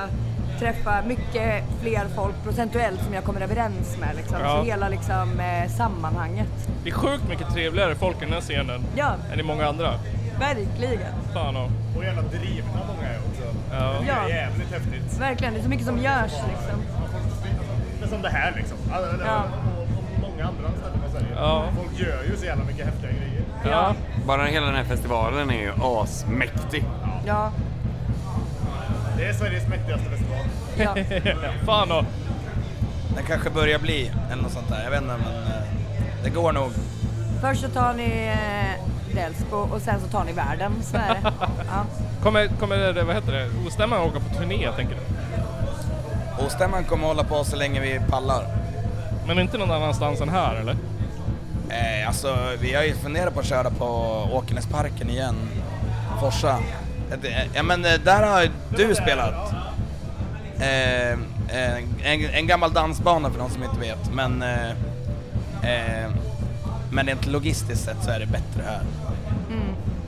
Speaker 5: träffa mycket fler folk procentuellt som jag kommer överens med. Liksom.
Speaker 4: Ja.
Speaker 5: Så hela liksom, eh, sammanhanget.
Speaker 4: Det är sjukt mycket trevligare folk i den här scenen
Speaker 5: Ja,
Speaker 4: än i många andra.
Speaker 5: verkligen.
Speaker 4: Fan och,
Speaker 8: Och jävla drivna många är också.
Speaker 4: ja.
Speaker 8: Det är
Speaker 5: Ja.
Speaker 8: jävligt häftigt.
Speaker 5: Verkligen, det är så mycket som görs liksom.
Speaker 8: Det är som det här liksom. Alltså, det-
Speaker 5: Ja.
Speaker 8: och- och Många andra ställen i Sverige.
Speaker 4: Ja.
Speaker 8: Folk gör ju så jävla mycket häftiga grejer.
Speaker 4: Ja.
Speaker 6: Bara hela den här festivalen är ju asmäktig.
Speaker 5: Ja,
Speaker 8: Det är Sveriges mäktigaste festival.
Speaker 5: ja.
Speaker 4: Fan och,
Speaker 3: Den kanske börjar bli, eller något sånt där. Jag vet inte, men eh, det går nog.
Speaker 5: Först så tar ni eh, Delsbo och sen så tar ni världen, så är det. Ja.
Speaker 4: kommer, kommer det, vad heter det, ostämman åka på turné tänker du?
Speaker 3: Och stämman kommer hålla på så länge vi pallar.
Speaker 4: Men inte någon annanstans än här eller?
Speaker 3: Eh, alltså, vi har ju funderat på att köra på Åkernäsparken igen. Forsa. Eh, det- Ja men eh, där har ju du spelat. Eh, eh, en, en gammal dansbana för de som inte vet. Men, eh, eh, men rent logistiskt sett så är det bättre här.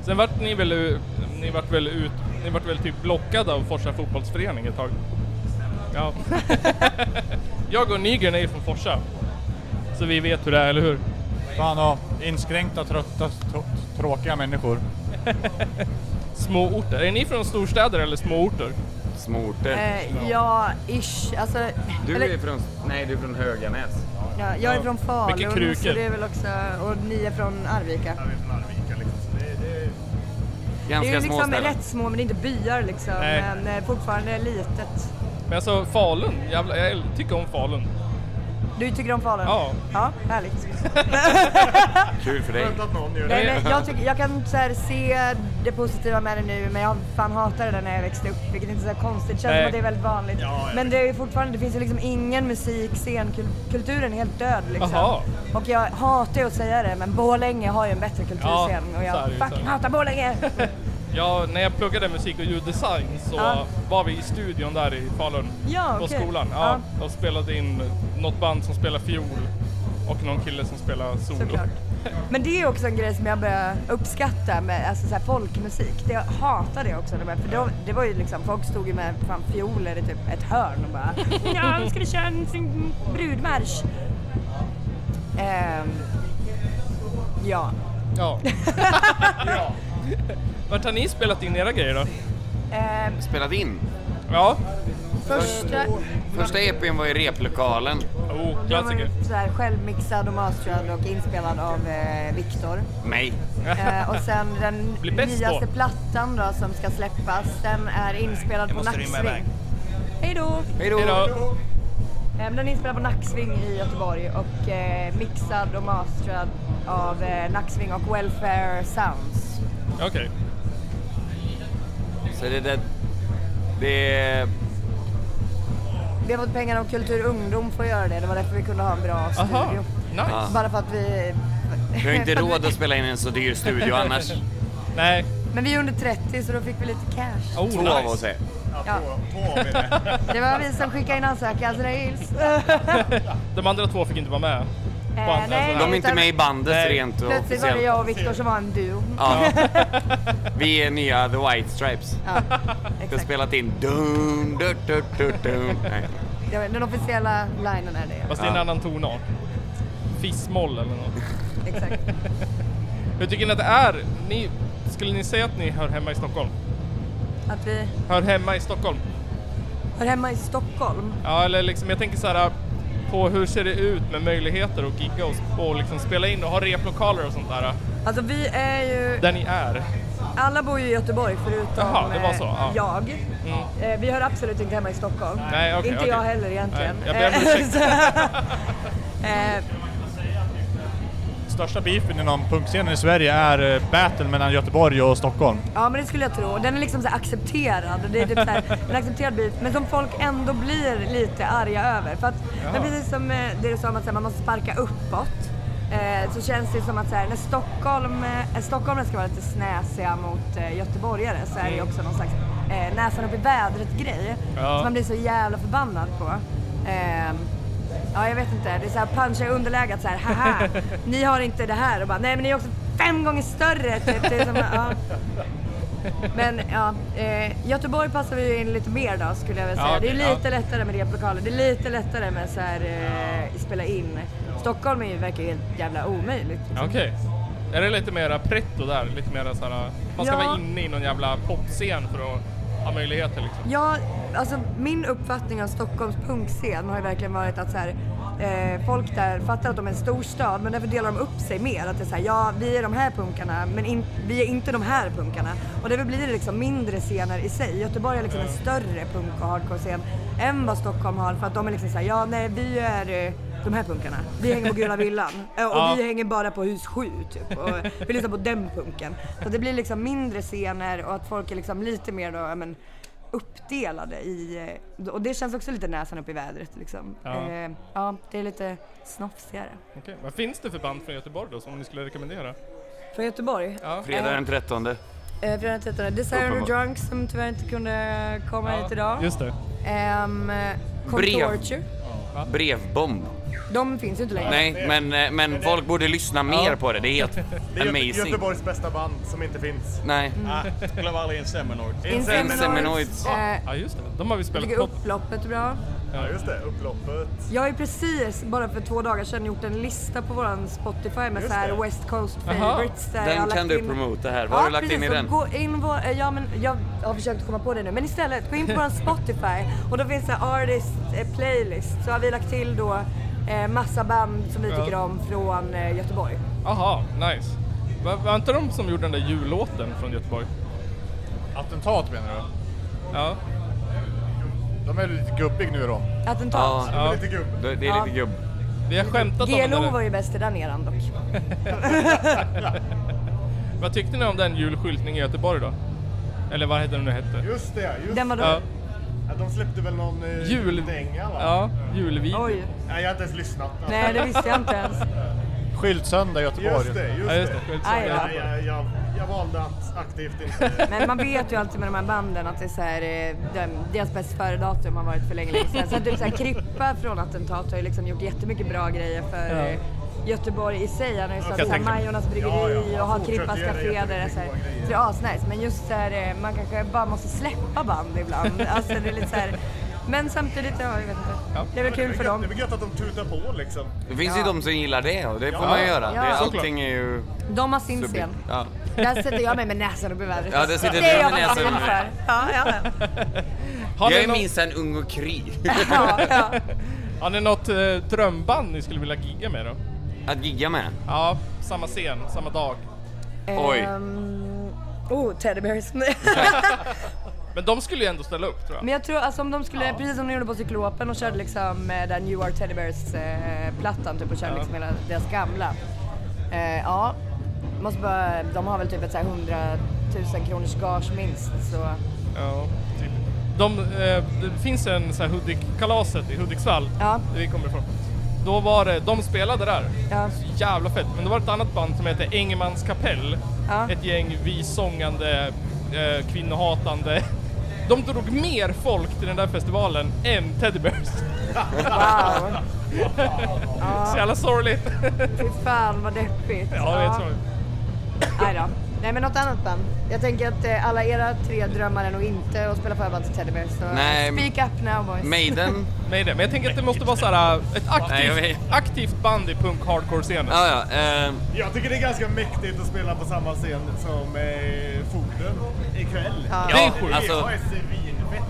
Speaker 4: Sen vart ni väl, u- ni vart väl ut, ni vart väl typ blockade av Forsa fotbollsförening ett tag? Ja. jag och Nygren är ju från Forsa. Så vi vet hur det är, eller hur?
Speaker 9: Fan och inskränkta, trötta, tr- tråkiga människor.
Speaker 4: Småorter. Är ni från storstäder eller småorter?
Speaker 6: Småorter.
Speaker 5: Eh, ja, ish. Alltså,
Speaker 6: Du
Speaker 5: eller-
Speaker 6: är från... Nej, du är från Höganäs.
Speaker 5: Ja, jag är från
Speaker 4: Mycket
Speaker 5: Falun,
Speaker 4: krukor.
Speaker 5: så det är väl också, och ni är från Arvika.
Speaker 8: Jag är från Arvika liksom. Så det, det,
Speaker 5: Det är
Speaker 6: Ganska
Speaker 5: ju
Speaker 6: små
Speaker 5: liksom
Speaker 6: ställen.
Speaker 5: rätt små, men det är inte byar liksom.
Speaker 4: Nej.
Speaker 5: Men eh, fortfarande litet.
Speaker 4: Men alltså Falun, jävla, jag tycker om Falun.
Speaker 5: Du tycker om Falun?
Speaker 4: Ja.
Speaker 5: Ja, härligt.
Speaker 6: Kul för dig.
Speaker 8: skönt att någon gör det.
Speaker 5: Nej, men jag, tycker, jag kan så här, se det positiva med det nu, men jag fan hatade det när jag växte upp, vilket inte är så konstigt. Känns
Speaker 4: Nej.
Speaker 5: som att det är väldigt vanligt.
Speaker 8: Ja, jag
Speaker 5: men det är ju fortfarande, det finns ju liksom ingen musik, scenkulturen är helt död liksom.
Speaker 4: Jaha.
Speaker 5: Och jag hatar ju att säga det, men Borlänge har ju en bättre kulturscen
Speaker 4: Ja,
Speaker 5: och
Speaker 4: så är
Speaker 5: jag
Speaker 4: det ju, så är
Speaker 5: fucking
Speaker 4: det.
Speaker 5: hatar Borlänge!
Speaker 4: Ja, när jag pluggade musik och ljuddesign så
Speaker 5: Ja.
Speaker 4: var vi i studion där i Falun.
Speaker 5: Ja,
Speaker 4: på
Speaker 5: okej.
Speaker 4: skolan. Ja, Och spelade in något band som spelar fiol och någon kille som spelar solo.
Speaker 5: Såklart. Men det är också en grej som jag börjar uppskatta med alltså så här folkmusik. Det, jag hatar det också. de här- För då, det var ju liksom, folk stod ju med fan fioler i typ ett hörn och bara Ja, nu ska du köra en sin brudmarsch. Ehm, ja.
Speaker 4: Ja. Vart har ni spelat in era grejer då?
Speaker 5: Ehm,
Speaker 6: Spelat in.
Speaker 4: Ja.
Speaker 5: första...
Speaker 6: Första EPn var i replokalen.
Speaker 4: Oh,
Speaker 5: Den var ju
Speaker 4: klassiker.
Speaker 5: så här självmixad och masterad och inspelad av eh, Viktor.
Speaker 6: Mig.
Speaker 5: Eh, och sen den
Speaker 4: Blir bäst då.
Speaker 5: nyaste plattan då som ska släppas, den är inspelad
Speaker 3: Jag
Speaker 5: på
Speaker 3: måste rymma
Speaker 5: Nacksving.
Speaker 3: iväg.
Speaker 5: Hej då!
Speaker 6: Hejdå.
Speaker 4: Hejdå.
Speaker 5: Eh, Den är inspelad på Nacksving i Göteborg och eh, mixad och masterad av eh, Nacksving och Welfare Sounds.
Speaker 4: Okej.
Speaker 6: Så det där... Det är...
Speaker 5: Vi har fått pengar av Kultur Ungdom för att göra det, det var därför vi kunde ha en bra
Speaker 4: Aha.
Speaker 5: studio.
Speaker 4: Nice.
Speaker 6: Ja.
Speaker 5: Bara för att vi...
Speaker 6: Vi har inte råd att spela in en så dyr studio
Speaker 5: Oh,
Speaker 6: annars.
Speaker 4: Nej.
Speaker 5: Men vi är under 30 så då fick vi lite cash.
Speaker 4: Oh,
Speaker 6: Två av
Speaker 4: nice.
Speaker 6: oss är.
Speaker 5: Ja. Det var vi som skickade in ansökan så det gills.
Speaker 4: De andra två fick inte vara med. Band,
Speaker 5: Eh, nej,
Speaker 4: alltså,
Speaker 6: De är inte med i bandet
Speaker 4: Nej.
Speaker 6: rent och
Speaker 5: Plötsligt var det
Speaker 6: officiellt.
Speaker 5: jag och Viktor som var en duo.
Speaker 6: Ja. Vi är nya The White Stripes.
Speaker 5: Ja,
Speaker 6: Vi har
Speaker 5: exakt.
Speaker 6: spelat in... Dun, dun, dun, dun, dun. Nej.
Speaker 5: Jag vet, Den officiella linen är det.
Speaker 4: Fast
Speaker 6: Ah.
Speaker 4: det är en annan tonart. Fissmoll eller något.
Speaker 5: Exakt.
Speaker 4: Hur tycker ni att det är? Ni, skulle ni säga att ni hör hemma i Stockholm?
Speaker 5: Att vi
Speaker 4: Hör hemma i Stockholm?
Speaker 5: hör hemma i Stockholm.
Speaker 4: Ja, eller liksom jag tänker så här på hur ser det ut med möjligheter att gigga och, och liksom spela in och ha replokaler och sånt där
Speaker 5: Alltså vi är ju...
Speaker 4: där ni är.
Speaker 5: Alla bor ju i Göteborg förutom
Speaker 4: Jaha, det var så,
Speaker 5: eh,
Speaker 4: ja. Mm.
Speaker 5: jag. Eh, Vi hör absolut inte hemma i Stockholm.
Speaker 4: Nej, okej,
Speaker 5: inte
Speaker 4: okej.
Speaker 5: jag heller egentligen. Eh,
Speaker 4: Nej, jag ber om ursäkt.
Speaker 5: Så- eh,
Speaker 9: Största beefen inom punkscenen i Sverige är eh, battle mellan Göteborg och Stockholm.
Speaker 5: Ja men det skulle jag tro. Den är liksom så här accepterad. Det är typ så här, en accepterad beef. Men som folk ändå blir lite arga över. För att, men precis som eh, det du sa om att så här, man måste sparka uppåt. Eh, så känns det som att så här, när Stockholm, eh, Stockholmare ska vara lite snäsiga mot eh, göteborgare så är det ju också någon slags eh, näsan upp i vädret grej.
Speaker 4: Ja.
Speaker 5: Som man blir så jävla förbannad på. Ehm, ja jag vet inte, det är såhär puncha i underläget såhär haha, ni har inte det här och bara nej men ni är också fem gånger större. Typ. Det är som, ja. Men ja, eh, Göteborg passar vi ju in lite mer då skulle jag väl
Speaker 4: Ja,
Speaker 5: säga. det
Speaker 4: okej,
Speaker 5: är
Speaker 4: ja.
Speaker 5: lite lättare med replokaler, det är lite lättare med så här, eh, spela in. Stockholm är ju, verkar ju helt jävla omöjligt.
Speaker 4: Okej. Är det lite mera pretto där? Lite mera så här, man ska
Speaker 5: Ja.
Speaker 4: vara inne i någon jävla popscen för att ha möjligheter liksom.
Speaker 5: Ja, alltså min uppfattning av Stockholms punkscen har ju verkligen varit att så här, eh, folk där fattar att de är en stor stad men därför delar de upp sig mer. Att det är så här, ja vi är de här punkarna men in, vi är inte de här punkarna. Och därför blir det liksom mindre scener i sig. Göteborg är liksom en större punk och hardcore-scen än vad Stockholm har för att de är liksom så här, ja nej vi är eh, de här punkarna. Vi hänger på Gula Villan Eh, och
Speaker 4: Ja.
Speaker 5: vi hänger bara på hus 7 typ. Och vi lyssnar på den punken. Så det blir liksom mindre scener och att folk är liksom lite mer då, ja, men, uppdelade i... eh, Och det känns också lite näsan upp i vädret liksom.
Speaker 4: Ja.
Speaker 5: Eh, ja det är lite snofsigare.
Speaker 4: Okej. Vad finns det för band från Göteborg då som ni skulle rekommendera?
Speaker 5: Från Göteborg?
Speaker 4: Ja.
Speaker 6: Fredag den 13.
Speaker 5: Eh, Fredag den 13. Desire and the
Speaker 6: Uppenbar-
Speaker 5: Drunks som tyvärr inte kunde komma hit idag.
Speaker 4: Just det.
Speaker 5: Ehm, eh,
Speaker 6: Brev.
Speaker 5: Contorture.
Speaker 6: Brevbomb.
Speaker 5: De finns ju inte längre.
Speaker 6: Nej, men, eh, men folk borde lyssna mer på det. Det är helt
Speaker 8: Det är Göte-
Speaker 6: amazing.
Speaker 8: Göteborgs bästa band som inte finns.
Speaker 6: Nej.
Speaker 7: Ah, Glöm aldrig Inseminoid.
Speaker 6: Inseminoids.
Speaker 5: Eh,
Speaker 4: Ja just det. De har vi
Speaker 5: jag
Speaker 4: spelat
Speaker 5: tycker
Speaker 4: på.
Speaker 5: upploppet är bra.
Speaker 8: Ja, just det. Upploppet.
Speaker 5: Jag har ju precis, bara för två dagar sedan, gjort en lista på våran Spotify med så här
Speaker 8: det.
Speaker 5: West Coast
Speaker 4: Aha.
Speaker 5: favorites. där jag har
Speaker 6: Den
Speaker 5: lagt
Speaker 6: kan du
Speaker 5: in-
Speaker 6: promota här. Vad har du lagt in i
Speaker 5: precis. Och
Speaker 6: den?
Speaker 5: Gå in vår, eh, ja, men jag har försökt komma på det nu, men istället gå in på vår Spotify och då finns det artist eh, playlist. Så har vi lagt till då eh, massa band som vi
Speaker 4: Ja.
Speaker 5: tycker om från eh, Göteborg.
Speaker 4: Aha, nice. Var, var inte de som gjorde den där jullåten från Göteborg?
Speaker 9: Attentat menar du?
Speaker 4: Ja.
Speaker 9: De är lite gubbig nu då.
Speaker 5: Attentat.
Speaker 6: Ja,
Speaker 4: ja.
Speaker 8: Lite gubb.
Speaker 6: det är lite gubb.
Speaker 4: Vi har skämtat om den
Speaker 5: GLO var
Speaker 4: där.
Speaker 5: ju bäst i den eran dock.
Speaker 4: Vad tyckte ni om den julskyltningen i Göteborg då? Eller vad hette den nu hette?
Speaker 8: Just det, just
Speaker 5: Den var då...
Speaker 4: Ja.
Speaker 8: Ja, De släppte väl någon eh,
Speaker 4: Jul...
Speaker 8: dänga va?
Speaker 4: Ja, julvideo.
Speaker 5: Oj.
Speaker 8: Nej, jag har inte ens lyssnat.
Speaker 5: Nej, det visste jag inte ens.
Speaker 9: Skyltsöndag i Göteborg.
Speaker 8: Just det, just,
Speaker 4: Ja, just det.
Speaker 8: det.
Speaker 4: Skyltsen.
Speaker 5: Aj då.
Speaker 8: Ja, jag, jag, jag valde att aktivt inte...
Speaker 5: Men man vet ju alltid med de här banden att det är så här, eh, de- deras bäst före-datum har varit för länge, länge sedan. Så att typ så här, Krippa från Attentat har ju liksom gjort jättemycket bra grejer för
Speaker 4: Ja.
Speaker 5: eh, Göteborg i sig. Han har ju startat så här
Speaker 4: tänka mig.
Speaker 5: Majornas
Speaker 8: Ja,
Speaker 5: Bryggeri
Speaker 8: ja.
Speaker 5: och har
Speaker 8: Fortsätter
Speaker 5: Krippas
Speaker 8: göra
Speaker 5: Café där. Det är,
Speaker 8: jättemycket
Speaker 5: så här,
Speaker 8: bra grejer.
Speaker 5: så det är asnice. Men just så här, eh, man kanske bara måste släppa band ibland. Alltså det är lite så här, men samtidigt, ja, jag vet inte. Det är väl kul för dem.
Speaker 8: Det är väl gött att de tutar på liksom.
Speaker 6: Det finns ju de som gillar det och det får man göra. Det,
Speaker 5: Ja.
Speaker 6: allting är ju...
Speaker 5: De har sin
Speaker 6: subjekt-
Speaker 5: scen.
Speaker 6: Ja.
Speaker 5: Där sätter jag mig med näsan uppe i vädret.
Speaker 6: Ja, där sitter
Speaker 5: det
Speaker 6: du
Speaker 5: är jag
Speaker 6: med näsan
Speaker 5: verkligen
Speaker 6: uppe.
Speaker 5: för. Ja, ja, ja.
Speaker 4: Har,
Speaker 6: Jag
Speaker 4: ni
Speaker 6: är
Speaker 4: något-
Speaker 6: minsann ung och kry.
Speaker 5: ja, ja.
Speaker 4: har ni något eh, drömband ni skulle vilja gigga med då?
Speaker 6: Att gigga med.
Speaker 4: Ja, samma scen, samma dag.
Speaker 6: Oj.
Speaker 5: Ehm, oh, teddy bears.
Speaker 4: Men de skulle ju ändå ställa upp tror jag.
Speaker 5: Men jag tror alltså om de skulle, precis som de gjorde på Cyklopen och körde liksom eh, den You Are Teddy Bears eh, plattan typ och körde liksom hela deras gamla. Eh, ja, måste bara, de har väl typ ett så här 100 000 kronors gage minst så.
Speaker 4: Ja, typ. De, eh, det finns en så här Hudik-kalaset i Hudiksvall,
Speaker 5: Ja.
Speaker 4: där vi kommer ifrån. då var det, de spelade där.
Speaker 5: Ja.
Speaker 4: Så jävla fett. Men det var ett annat band som hette Engmans kapell.
Speaker 5: Ja.
Speaker 4: Ett gäng visångande, eh, kvinnohatande. De drog mer folk till den där festivalen än Teddy Bears.
Speaker 5: Wow.
Speaker 4: Så jävla sorgligt.
Speaker 5: Fy fan vad deppigt.
Speaker 4: ja, det är sorgligt.
Speaker 5: Nej då. Nej men något annat band. Jag tänker att eh, alla era tre drömmar är nog inte att spela förband till Teddy Bear, så
Speaker 6: Nej, men-
Speaker 5: speak up now boys.
Speaker 6: Maiden?
Speaker 4: Nej, det. Men jag tänker att det måste vara såhär, ett
Speaker 6: Nej, jag vet.
Speaker 4: aktivt, aktivt band i punk-hardcore-scenen.
Speaker 6: Ja, ja. Eh,
Speaker 8: Jag tycker det är ganska mäktigt att spela på samma scen som eh, Foden ikväll.
Speaker 5: Ja.
Speaker 4: Det är sjukt.
Speaker 8: Det
Speaker 6: alltså
Speaker 8: var ju svinfett.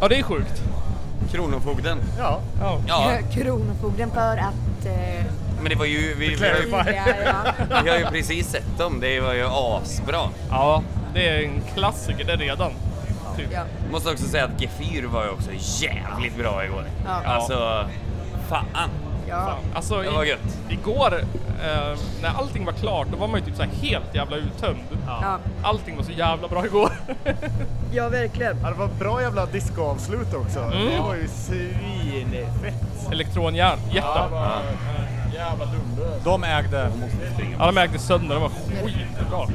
Speaker 4: Ja, det är sjukt.
Speaker 6: Kronofogden.
Speaker 8: Ja.
Speaker 4: Ja.
Speaker 6: Ja,
Speaker 5: Kronofogden för att... Eh,
Speaker 6: men det var ju... Vi, vi, har ju,
Speaker 8: Clarify.
Speaker 5: ja, ja.
Speaker 6: vi har ju precis sett dem. Det var ju asbra.
Speaker 4: ja, det är en klassiker det redan. Typ.
Speaker 5: Ja.
Speaker 6: Måste också säga att Gefyr var ju också jävligt bra igår.
Speaker 5: Ja.
Speaker 6: Alltså, fan.
Speaker 5: ja.
Speaker 4: Alltså,
Speaker 6: Det var
Speaker 4: i,
Speaker 6: gött.
Speaker 4: igår eh, när allting var klart, då var man ju typ så här helt jävla uttömd.
Speaker 5: Ja.
Speaker 4: Allting var så jävla bra igår.
Speaker 5: ja verkligen.
Speaker 8: Ja, det var ett bra jävla discoavslut också.
Speaker 4: Mm.
Speaker 8: Det var ju svinfett.
Speaker 4: Elektronjärn, jätte.
Speaker 8: Jävla dunder.
Speaker 9: De ägde.
Speaker 4: Alla märkte sönder, de var skitbra.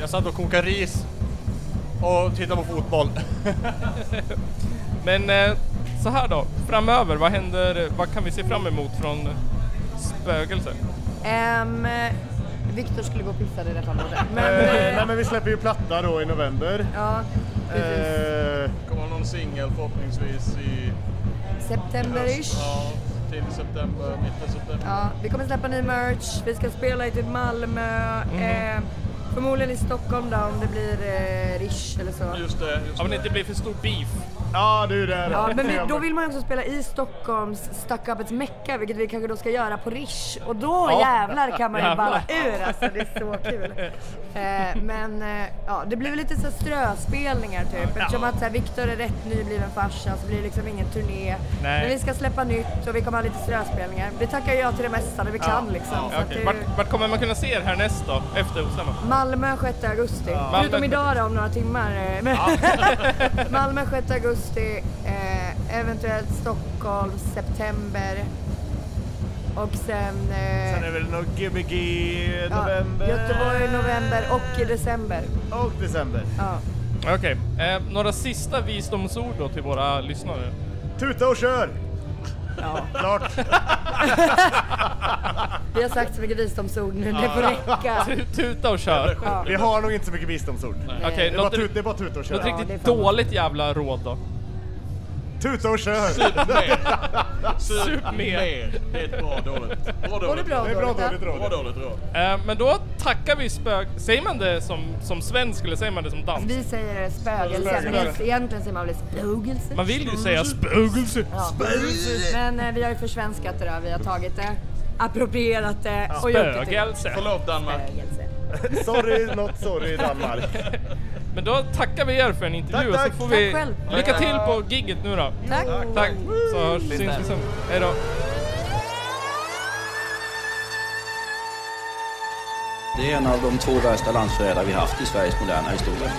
Speaker 9: Jag satt och kokade ris och tittade på fotboll.
Speaker 4: Men eh, så här då, framöver, vad händer, vad kan vi se fram emot från spögelse?
Speaker 5: Ehm, Viktor skulle gå och pissa det där fallet. Men...
Speaker 8: Eh, nej
Speaker 5: eh,
Speaker 8: men vi släpper ju platta då i november.
Speaker 5: ja. precis.
Speaker 8: Eh,
Speaker 10: Kommer någon singel förhoppningsvis i
Speaker 5: September-ish.
Speaker 10: ja, tidig september, mitten september.
Speaker 5: Ja, vi kommer släppa ny merch, vi ska spela i typ Malmö,
Speaker 8: Mhm.
Speaker 5: eh, förmodligen i Stockholm då om det blir eh, Rish eller så.
Speaker 10: Just det, just
Speaker 4: Om det inte blir för stor beef.
Speaker 8: ja du det är det.
Speaker 5: Ja, men vi, då vill man ju också spela i Stockholms Stuckupets Mecka, vilket vi kanske då ska göra på Rish. Och då
Speaker 4: Ja.
Speaker 5: jävlar kan man ju
Speaker 4: Jävlar.
Speaker 5: balla ur alltså, det är så kul. Eh, men eh, ja, det blir väl lite så här ströspelningar typ. Eftersom att så här, Viktor är rätt nybliven farsa så blir det liksom ingen turné.
Speaker 4: Nej.
Speaker 5: Men vi ska släppa nytt och vi kommer ha lite ströspelningar. Vi tackar ja till det mesta det vi kan liksom. Så att det-
Speaker 4: Vart, vart kommer man kunna se er härnäst då, efter Ostämman?
Speaker 5: Malmö 6 augusti.
Speaker 4: Malmö-
Speaker 5: Förutom idag då om några timmar. eh, men- Malmö 6 augusti, eh, eventuellt Stockholm september. Och sen... Eh,
Speaker 8: Sen är väl nog Gbg i
Speaker 5: ja,
Speaker 8: november.
Speaker 5: Göteborg i november och i december.
Speaker 8: Och december.
Speaker 5: Ja.
Speaker 4: Okej, eh, några sista visdomsord då till våra lyssnare?
Speaker 8: Tuta och kör! Klart.
Speaker 5: Vi har sagt så mycket visdomsord nu, det får räcka.
Speaker 4: Tut- Tuta och kör.
Speaker 5: Ja.
Speaker 8: Vi har nog inte så mycket visdomsord.
Speaker 4: Eh, Okej,
Speaker 8: Det är, bara
Speaker 4: något,
Speaker 8: tut, det är bara tuta och
Speaker 4: något
Speaker 8: köra.
Speaker 5: Ja, det är
Speaker 4: riktigt
Speaker 5: fan-
Speaker 4: dåligt jävla råd då.
Speaker 8: Tuta och kör!
Speaker 4: Sup mer.
Speaker 10: mer. Det är ett bra dåligt. Bra
Speaker 5: Både
Speaker 10: dåligt.
Speaker 5: bra och
Speaker 8: Det är bra
Speaker 5: dåligt. ja.
Speaker 8: dåligt råd.
Speaker 10: Bra dåligt råd.
Speaker 4: Eh, men då tackar vi spök... Säger man det som, som svensk eller säger man det som dansk?
Speaker 5: Vi säger det, spögelse, men
Speaker 8: Spögelse.
Speaker 5: egentligen säger man väl spögelse.
Speaker 4: Man vill ju säga spögelse.
Speaker 5: Ja. Men eh, vi har ju försvenskat det där, vi har tagit det, approprierat det och gjort det till
Speaker 4: Spögelse.
Speaker 10: Förlåt Danmark.
Speaker 5: spögelse.
Speaker 8: Sorry, not sorry Danmark.
Speaker 4: Men då tackar vi er för en intervju och
Speaker 8: Tack,
Speaker 4: så
Speaker 8: tack.
Speaker 4: får vi...
Speaker 5: Tack själv.
Speaker 4: Lycka till på gigget nu då.
Speaker 5: Tack!
Speaker 4: Tack. Så hörs, syns vi sen. Hej då.
Speaker 1: Det är en av de två värsta landsförrädare vi haft i Sveriges moderna historia.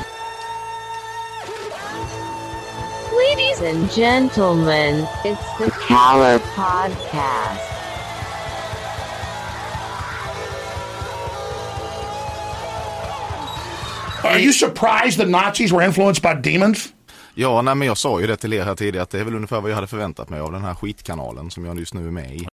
Speaker 2: Ladies and gentlemen, it's the Caller Podcast.
Speaker 11: Are you surprised the Nazis were influenced by demons?
Speaker 12: Ja, nej, men jag sa ju det till er här tidigare att det är väl ungefär vad jag hade förväntat mig av den här skitkanalen som jag just nu är med i.